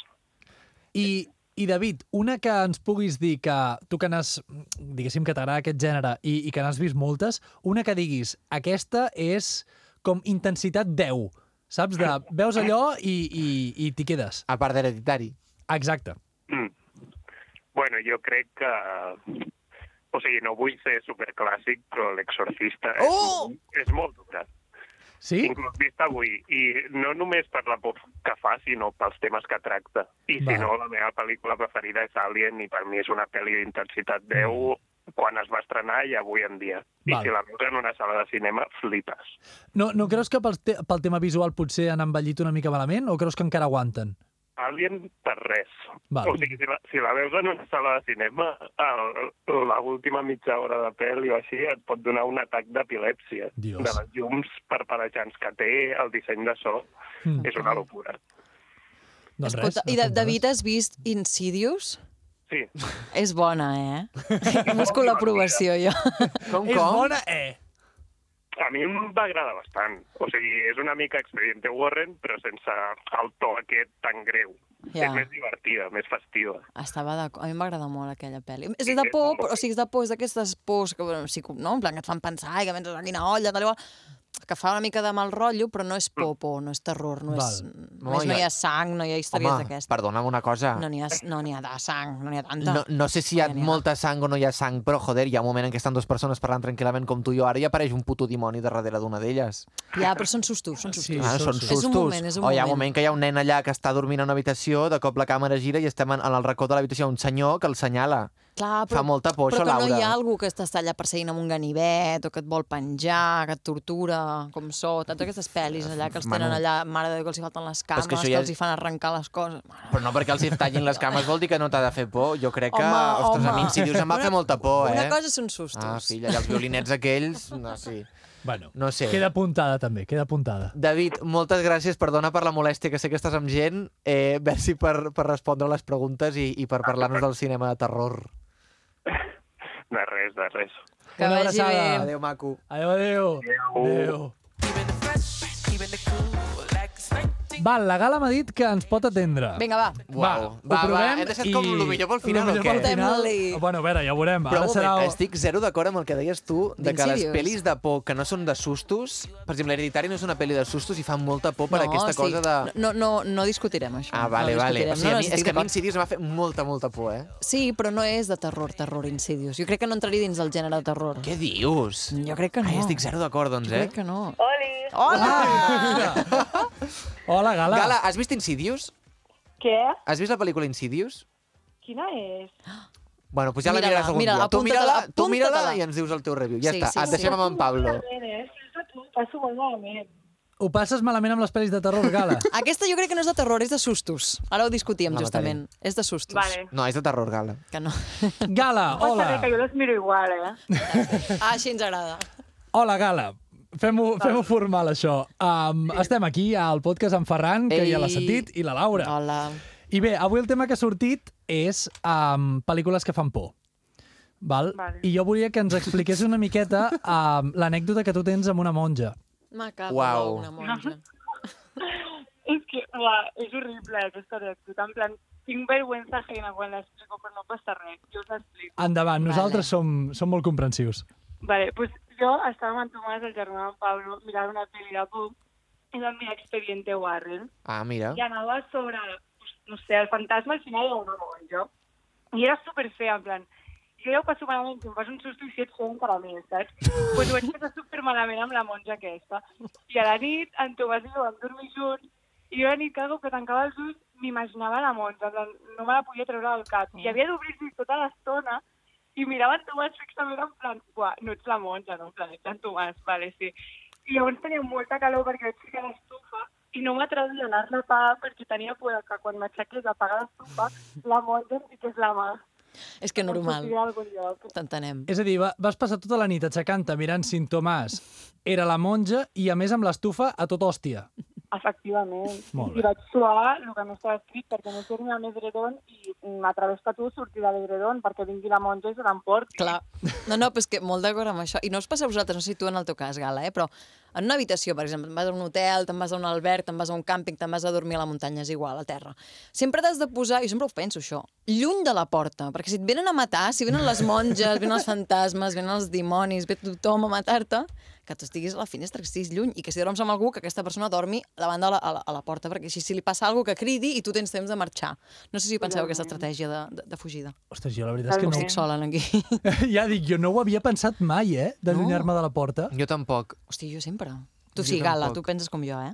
S3: I, I, David, una que ens puguis dir que tu que n'has, diguéssim, que t'agrada aquest gènere i, i que n'has vist moltes, una que diguis, aquesta és com intensitat 10, saps? De, veus allò i, i, i t'hi quedes.
S1: A part d'hereditari.
S3: Exacte.
S9: Mm. Bueno, jo crec que... O sigui, no vull ser superclàssic, però l'exorcista
S1: Oh!
S9: és, és molt dura.
S3: Sí?
S9: Inclús vist avui. I no només per la por que fa, sinó pels temes que tracta. I
S3: Va.
S9: si no, la meva pel·lícula preferida és Alien i per mi és una pel·li d'intensitat 10 quan es va estrenar i avui en dia. I
S3: Mm. Val.
S9: si la veus en una sala de cinema, flipes.
S3: No, no creus que pel, te pel tema visual potser han envellit una mica malament o creus que encara aguanten?
S9: Alien per res.
S3: Val.
S9: O sigui, si la, si la veus en una sala de cinema, el- l'última mitja hora de pel·li o així et pot donar un atac d'epilèpsia.
S3: Dios.
S9: De les llums parpellejants que té, el disseny de so,
S3: Mm.
S9: és una locura.
S3: Doncs
S2: Escolta,
S3: res,
S2: i
S3: no
S2: de,
S3: et
S2: David, has vist Insidious?
S9: Sí,
S2: És bona, eh? Busco l'aprovació, jo.
S1: Com,
S3: És
S1: com?
S3: bona, eh?
S9: a mi em va agradar bastant. O sigui, és una mica expediente Warren, però sense el to aquest tan greu.
S2: Ja.
S9: És més divertida, més festiva.
S2: Estava de... A mi m'agrada molt aquella pel·li. És de por, però, o sigui, és de por, és d'aquestes pors que, bueno, sí, que- no? en plan, que et fan pensar i que penses a quina olla, tal i qual, que fa una mica de mal rotllo, però no és por, por, no és terror, no és...
S3: Val.
S2: A més, no hi ha sang, no hi ha històries
S1: Home,
S2: d'aquestes.
S1: perdona'm una cosa.
S2: No n'hi ha, no n'hi ha de sang, no n'hi ha tanta.
S1: No, no sé si hi ha
S2: No n'hi ha.
S1: molta sang o no hi ha sang, però, joder, hi ha un moment en què estan dues persones parlant tranquil·lament com tu i jo ara i apareix un puto dimoni de darrere d'una d'elles.
S2: Ja, però són sustos, són sustos.
S3: Sí,
S1: Ah, són
S3: sí.
S1: sustos.
S2: És un moment, és un
S1: o hi ha un
S2: moment.
S1: moment que hi ha un nen allà que està dormint a una habitació, de cop la càmera gira i estem en, en el racó de l'habitació, un senyor que el senyala.
S2: Clar,
S1: Fa molta por,
S2: però
S1: això,
S2: que no hi
S1: Laura.
S2: ha algú que t'està allà perseguint amb un ganivet o que et vol penjar, que et tortura, com sota, totes aquestes pel·lis allà que els tenen
S1: Manu.
S2: allà, mare de Déu, que els hi falten les
S1: és
S2: cames,
S1: que
S2: que,
S1: això ja
S2: els hi fan arrencar les coses. Mare
S1: Però no perquè els hi tallin les cames vol dir que no t'ha de fer por. Jo crec que, ostres, a mi Insidious em va
S2: Una-
S1: fer molta por, eh?
S2: Una cosa són sustos.
S1: Ah, filla, i els violinets aquells... No, sí.
S3: Bueno,
S1: No sé.
S3: queda apuntada també, queda apuntada.
S1: David, moltes gràcies, perdona per la molèstia, que sé que estàs amb gent. Eh, merci per, per respondre les preguntes i, i per parlar-nos del cinema de terror.
S9: De res, de res.
S2: Que
S3: Una
S2: vagi
S3: abraçada.
S2: bé.
S1: Adéu, maco.
S3: Adéu, adéu. Adéu. Val, la Gala m'ha dit que ens pot atendre.
S2: Vinga, va.
S1: Uau.
S3: ho
S1: Va, va,
S3: provem
S1: hem deixat com lo millor pel
S3: lo
S1: final, o
S3: millor
S1: què?
S3: pel final.
S2: Fem-li.
S3: Bueno, a veure, ja ho veurem.
S1: Però
S3: Ara
S1: un
S3: serà...
S1: moment, estic zero d'acord amb el que deies tu, de que les
S2: D'insidious.
S1: pel·lis de por que no són de sustos... Per exemple, l'Hereditari no és una pel·li de sustos i fa molta por per
S2: no,
S1: aquesta
S2: sí.
S1: cosa de...
S2: No, no, no discutirem això.
S1: Ah, vale,
S2: no
S1: vale.
S2: discutirem.
S1: O sigui, a
S2: no, no,
S1: mi,
S2: estic
S1: és que a mi
S2: d'acord.
S1: Insidious em va fer molta, molta por, eh?
S2: Sí, però no és de terror, terror insidious. Jo crec que no entraria dins del gènere de terror.
S1: Què dius?
S2: Jo crec que no.
S1: Ai, estic zero d'acord, doncs,
S2: Jo
S1: eh?
S2: crec que no.
S5: Oli!
S2: Hola!
S3: Hola, Gala.
S1: Gala, has vist Insidious?
S5: Què?
S1: Has vist la pel·lícula Insidious?
S5: Quina és?
S1: Bueno, pues ja la
S2: Mira-la,
S1: miraràs algun dia. Tu
S2: mira-la, apunta-te-la,
S1: mira-la, tu mira-la
S2: apunta-te-la.
S1: i ens dius el teu review. Ja
S2: Sí,
S1: està,
S2: sí,
S1: et deixem
S2: sí.
S1: amb en Pablo.
S5: Malament, eh? Tot ho passo molt malament.
S3: Ho passes malament amb les pel·lis de terror, Gala.
S2: Aquesta jo crec que no és de terror, és de sustos. Ara ho discutíem,
S1: No,
S2: justament. És de sustos.
S5: Vale.
S1: No, és de terror, Gala.
S2: Que no.
S3: Gala, hola.
S5: Passa bé que jo les miro igual, eh?
S2: Ah, així ens agrada.
S3: Hola, Gala. Fem-ho fem formal, això. Um, estem aquí al podcast amb Ferran, que
S1: Ei.
S3: ja l'ha sentit, i la Laura.
S2: Hola.
S3: I bé, avui el tema que ha sortit és um, pel·lícules que fan por. Val?
S5: Vale.
S3: I jo volia que ens expliqués una miqueta um, l'anècdota que tu tens amb una monja.
S2: Me cago
S1: Uau.
S2: una monja.
S5: És que, uah, és horrible aquesta anècdota. En plan, tinc vergüenza ajena quan l'explico, però no passa res. Jo us l'explico.
S3: Endavant, nosaltres som, som molt comprensius.
S5: Vale, pues jo estava amb en Tomàs, el germà d'en Pablo, mirant una pel·li de por i vam mirar Expediente Warren.
S1: Ah, mira.
S5: I anava sobre, pues, no sé, el fantasma al final d'una monja. I era superfea, en plan, jo ja ho passo malament, si em fas un susto i si et fem per a mi, saps? Doncs pues ho vaig passar super malament amb la monja aquesta. I a la nit, en Tomàs i jo vam dormir junts, i jo a la nit cada cop que tancava els ulls m'imaginava la monja, en plan, no me la podia treure del cap. I havia d'obrir-los tota l'estona i mirava en Tomàs fixament en plan, buah, no ets la monja, no? En plan, ets en Tomàs, vale, sí. I llavors tenia molta calor perquè vaig ficar a l'estufa i no m'atrevi a anar-la a apagar perquè tenia por que quan m'aixequés a apagar l'estufa la monja em fiqués la mà.
S2: És que normal,
S5: Em sortiria a algun lloc.
S2: t'entenem.
S3: És a dir, va, vas passar tota la nit aixecant-te mirant Sintomàs, era la monja i, a més, amb l'estufa a tot hòstia.
S5: Efectivament.
S3: Molt bé.
S5: I vaig suar el que no estava escrit perquè no torni a l'edredon i mm, a través de tu sortir de l'edredon perquè vingui la monja i se l'emporti.
S2: Clar. No, no, però és que molt d'acord amb això. I no us passa a vosaltres, no sé si tu en el teu cas, Gala, eh? però en una habitació, per exemple, te'n vas a un hotel, te'n vas a un alberg, te'n vas a un càmping, te'n vas a dormir a la muntanya, és igual, a terra. Sempre t'has de posar, i sempre ho penso això, lluny de la porta, perquè si et venen a matar, si venen les monges, venen els fantasmes, venen els dimonis, ve tothom a matar-te, que tu estiguis a la finestra, que estiguis lluny, i que si dorms amb algú, que aquesta persona dormi davant de la, a la, a la porta, perquè així si li passa alguna que cridi i tu tens temps de marxar. No sé si penseu aquesta estratègia de, de, de fugida.
S3: Ostres, jo la veritat és que
S2: No
S3: no...
S2: estic sola, aquí.
S3: Ja dic, jo no ho havia pensat mai, eh, d'allunyar-me de la porta.
S1: Jo tampoc.
S2: Hosti, jo sempre. Tu
S1: Jo
S2: sí, Gala, tu
S1: tampoc.
S2: penses com jo, eh?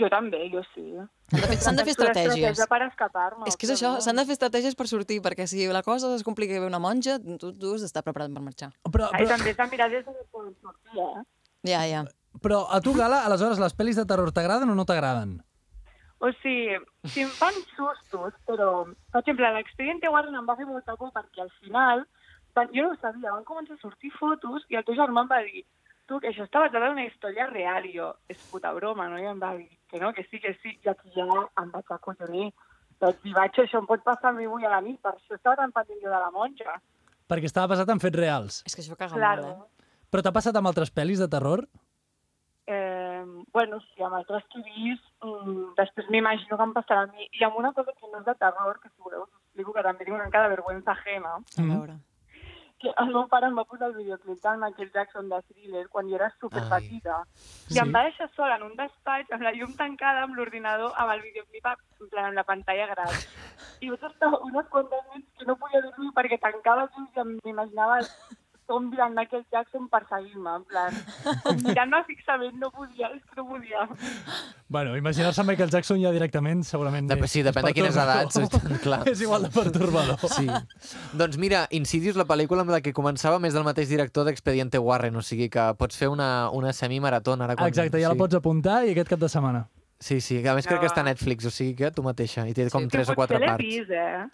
S5: Jo també, jo sí.
S2: S'han de fer, s'han de fer estratègies.
S5: Estratègia per escapar-me.
S2: És que és això, s'han de fer estratègies per sortir, perquè si la cosa es complica i ve una monja, tu, tu has d'estar preparat per marxar.
S3: Però,
S5: Ai,
S3: però,
S5: també s'ha mirat des de quan sortia, eh?
S2: Ja, ja.
S3: però a tu, Gala, aleshores, les pel·lis de terror t'agraden o no t'agraden?
S5: O sigui, si em fan sustos, però... Per exemple, l'expediente Warren em va fer molta por perquè al final... Van, jo no ho sabia, van començar a sortir fotos i el teu germà em va dir tu, que això estava basat en una història real. I jo, és puta broma, no? I em va dir que no, que sí, que sí. I aquí ja em vaig acollonir. Doncs dir, vaig, això em pot passar a mi avui a la nit, per això estava tan pendent jo de la monja.
S3: Perquè estava basat en fets reals.
S2: És que això caga
S5: Claro.
S2: molt, eh?
S3: Però t'ha passat amb altres pel·lis de terror?
S5: eh, bueno, sí, amb altres turis, mm, després m'imagino que em passarà a mi. I amb una cosa que no és de terror, que si voleu us explico, que també tinc una mica de vergüenza ajena,
S2: A veure.
S5: que el meu pare em va posar el videoclip del Michael Jackson de Thriller quan jo era superpetita. I em va deixar sola en un despatx, amb la llum tancada, amb l'ordinador, amb el videoclip, a- en plan, amb la pantalla gran. I vaig estar unes quantes nits que no podia dormir perquè tancava els ulls i em- m'imaginava el zombi del Michael Jackson perseguint-me, en plan, com mirant-me fixament, no podia, és que no podia.
S3: Bueno, imaginar-se Michael Jackson ja directament, segurament...
S1: Dep
S3: és-
S1: sí,
S3: és
S1: depèn de quines
S3: pertorbador.
S1: edats, i tant, clar.
S3: És igual de pertorbador.
S1: Sí. doncs mira, Insidious, la pel·lícula amb la que començava, més del mateix director d'Expediente Warren, o sigui que pots fer una, una semimaratona. Ara quan...
S3: Exacte, ja la
S1: sí.
S3: pots apuntar i aquest cap de setmana.
S1: Sí, sí, a més crec que està a Netflix, o sigui que tu mateixa, i té com
S5: Que
S1: 3 o 4
S5: potser l'he
S1: parts.
S5: vist, eh?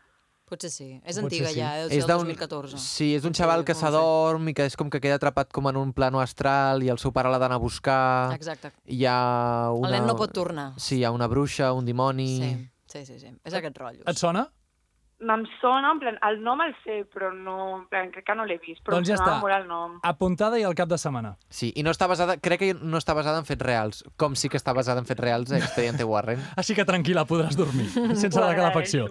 S2: Potser sí. És
S3: Potser
S2: antiga
S3: sí.
S2: ja, eh? deu ser del 2014.
S1: Sí, és un
S2: Potser
S1: xaval que
S2: com no sé.
S1: s'adorm i que és com que queda atrapat com en un plano astral i el seu pare l'ha d'anar a buscar.
S2: Exacte.
S1: Hi ha una...
S2: El nen no pot tornar.
S1: Sí, hi ha una bruixa, un dimoni...
S2: Sí, sí, sí. sí. És aquest rotllo.
S3: Et sona?
S5: Em sona, en plan, el nom el sé, però no, en plan, crec que no l'he vist, però
S3: Doncs ja
S5: em sonava
S3: està.
S5: molt el nom.
S3: Apuntada i al cap de setmana.
S1: Sí, i no està basada... Crec que no està basada en fets reals, com sí que està basada en fets reals a Expediente Warren.
S3: Així que tranquil·la, podràs dormir, sense la calefacció.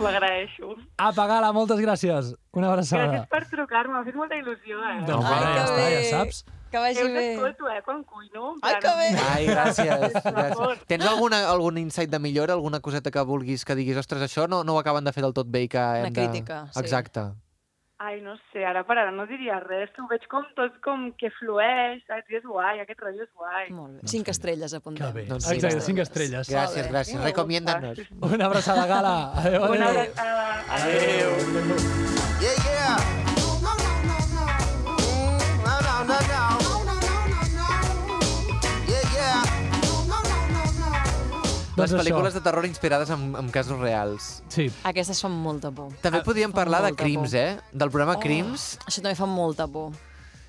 S5: Ho agraeixo.
S3: Apa, Gala, moltes gràcies. Una abraçada.
S5: Gràcies per trucar-me, m'ha fet molta il·lusió, eh?
S3: Doncs
S1: Ai,
S3: va,
S1: que
S3: ja està,
S2: bé.
S3: ja saps.
S2: Que
S5: Jo
S2: vagi
S5: us
S2: bé.
S5: escolto, eh, quan cuino. en
S2: Ai,
S5: plan,
S2: que bé.
S1: Ai, gràcies. gràcies.
S5: favor.
S1: Tens alguna, algun insight de millora, alguna coseta que vulguis que diguis, ostres, això no, no ho acaben de fer del tot bé i que hem
S2: Una crítica,
S1: de...
S2: sí.
S1: Exacte.
S5: Ai, no sé, ara per ara no diria res, que ho veig com tot com que flueix, saps? I és guai, aquest rotllo és guai.
S2: Molt bé. Cinc estrelles, apuntem.
S3: Que bé.
S1: Doncs sí,
S3: Exacte,
S1: gràcies.
S3: cinc estrelles.
S1: Gràcies,
S2: bé.
S1: gràcies. Recomiendanos.
S3: Una abraçada, Gala. Adéu, adéu.
S5: Una abraçada.
S7: Yeah, yeah. Mm, no, no, no, no. Yeah, yeah.
S1: Les
S3: Doncs això.
S1: pel·lícules de terror inspirades en, en casos reals.
S3: Sí.
S2: Aquestes fan molta por.
S1: També podíem parlar de
S2: Ah, molta
S1: Crims,
S2: por. Oh.
S1: eh? Del programa Crims,
S2: Això també fa molta por.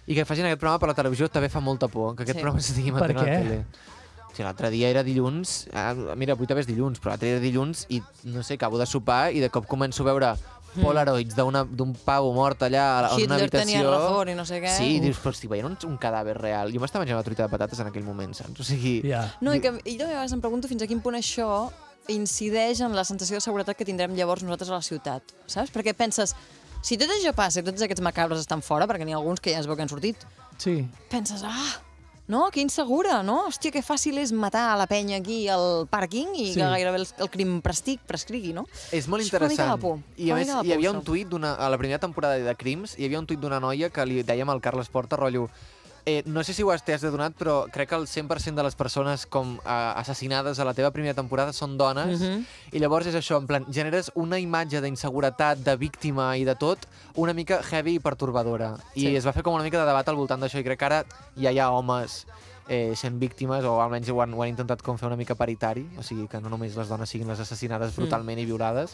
S1: i que facin aquest programa per la televisió també fa molta por, que aquest
S2: Sí.
S1: programa s'estigui
S3: Per
S1: mantenint a
S3: què?
S1: la tele. O sigui, l'altre dia era dilluns, ah, mira, avui també és dilluns, però l'altre dia era dilluns i, no sé, acabo de sopar i de cop començo a veure Polaroids d'una- d'un pavo mort allà a la- en una
S2: Hmm. Hitler
S1: habitació.
S2: tenia eh? raó i no sé què.
S1: Sí, i dius, però estic veient un, un cadàver real. Jo m'estava menjant una truita de patates en aquell moment, saps? O sigui,
S3: Ja.
S2: No, i que i jo a vegades em pregunto fins a quin punt això incideix en la sensació de seguretat que tindrem llavors nosaltres a la ciutat, saps? Perquè penses, si tot això passa i tots aquests macabres estan fora, perquè n'hi ha alguns que ja es veu que han sortit,
S3: Sí.
S2: penses, ah, No, que insegura, no? Hòstia, que fàcil és matar a la penya aquí al pàrquing i
S3: Sí.
S2: sí. que gairebé el, el crim prestic, prescrigui, no?
S1: És molt
S2: Això fa una mica
S1: interessant.
S2: de por.
S1: I
S2: Fa
S1: a
S2: una
S1: més,
S2: mica de
S1: hi havia
S2: por,
S1: un
S2: això.
S1: tuit d'una- a la primera temporada de Crims, hi havia un tuit d'una noia que li dèiem al Carles Porta, rotllo, eh, no sé si ho has t'has adonat, però crec que el 100% de les persones com eh, assassinades a la teva primera temporada són dones,
S2: Mhm.
S1: i llavors és això, en plan, generes una imatge d'inseguretat, de víctima i de tot, una mica heavy i pertorbadora. I
S2: Sí.
S1: es va fer com una mica de debat al voltant d'això, i crec que ara ja hi ha homes eh, sent víctimes, o almenys ho han, ho han intentat com fer una mica paritari, o sigui, que no només les dones siguin les assassinades brutalment mm. i violades,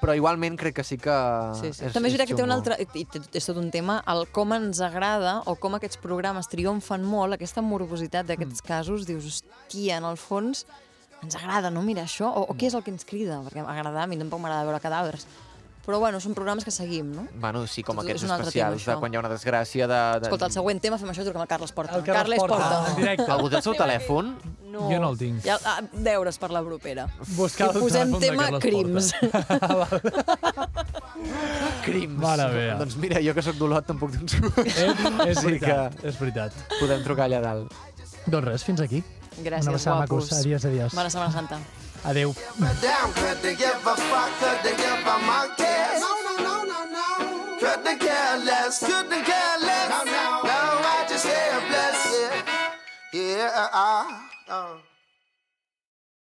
S1: però igualment crec que sí que...
S2: Sí, sí. També és veritat que té un altre... I té- és tot un tema, el com ens agrada o com aquests programes triomfen molt, aquesta morbositat d'aquests casos, dius, hòstia, en el fons ens agrada, no? Mira això, o, o què és el que ens crida? Perquè agradar, a mi tampoc m'agrada veure cadàvers. Però bueno, són programes que seguim, no?
S1: Bueno, sí, com
S2: Tot-
S1: aquests
S2: és un altre
S1: especials
S2: tema,
S1: de
S2: això.
S1: quan hi ha una desgràcia de... de...
S2: Escolta, el següent tema fem això i truquem al Carles Porta.
S3: El Carles Porta. Ah, En directe.
S1: Algú té el seu telèfon?
S2: No.
S3: Jo no el tinc.
S2: Ja, ah, deures per la propera.
S3: Buscar
S2: I
S3: el
S2: posem
S3: telèfon de
S2: tema
S3: Carles
S2: crims.
S1: Crims.
S3: Mare meva.
S1: Doncs mira, jo que sóc d'Olot tampoc te'n surt.
S3: Eh, és
S1: Sí
S3: veritat, és veritat.
S1: Podem trucar allà dalt.
S3: Doncs res, fins aquí.
S2: Gràcies,
S3: Una abraçada,
S2: guapos.
S3: macos. Adiós, adiós.
S2: Bona Setmana Santa.
S3: Adéu.
S7: down, could they give a fuck, could they give a monkey's? No, no, no, no, no. Could they care less, could they care less? No, no, no, I just say a bless. Yeah, yeah, uh, uh.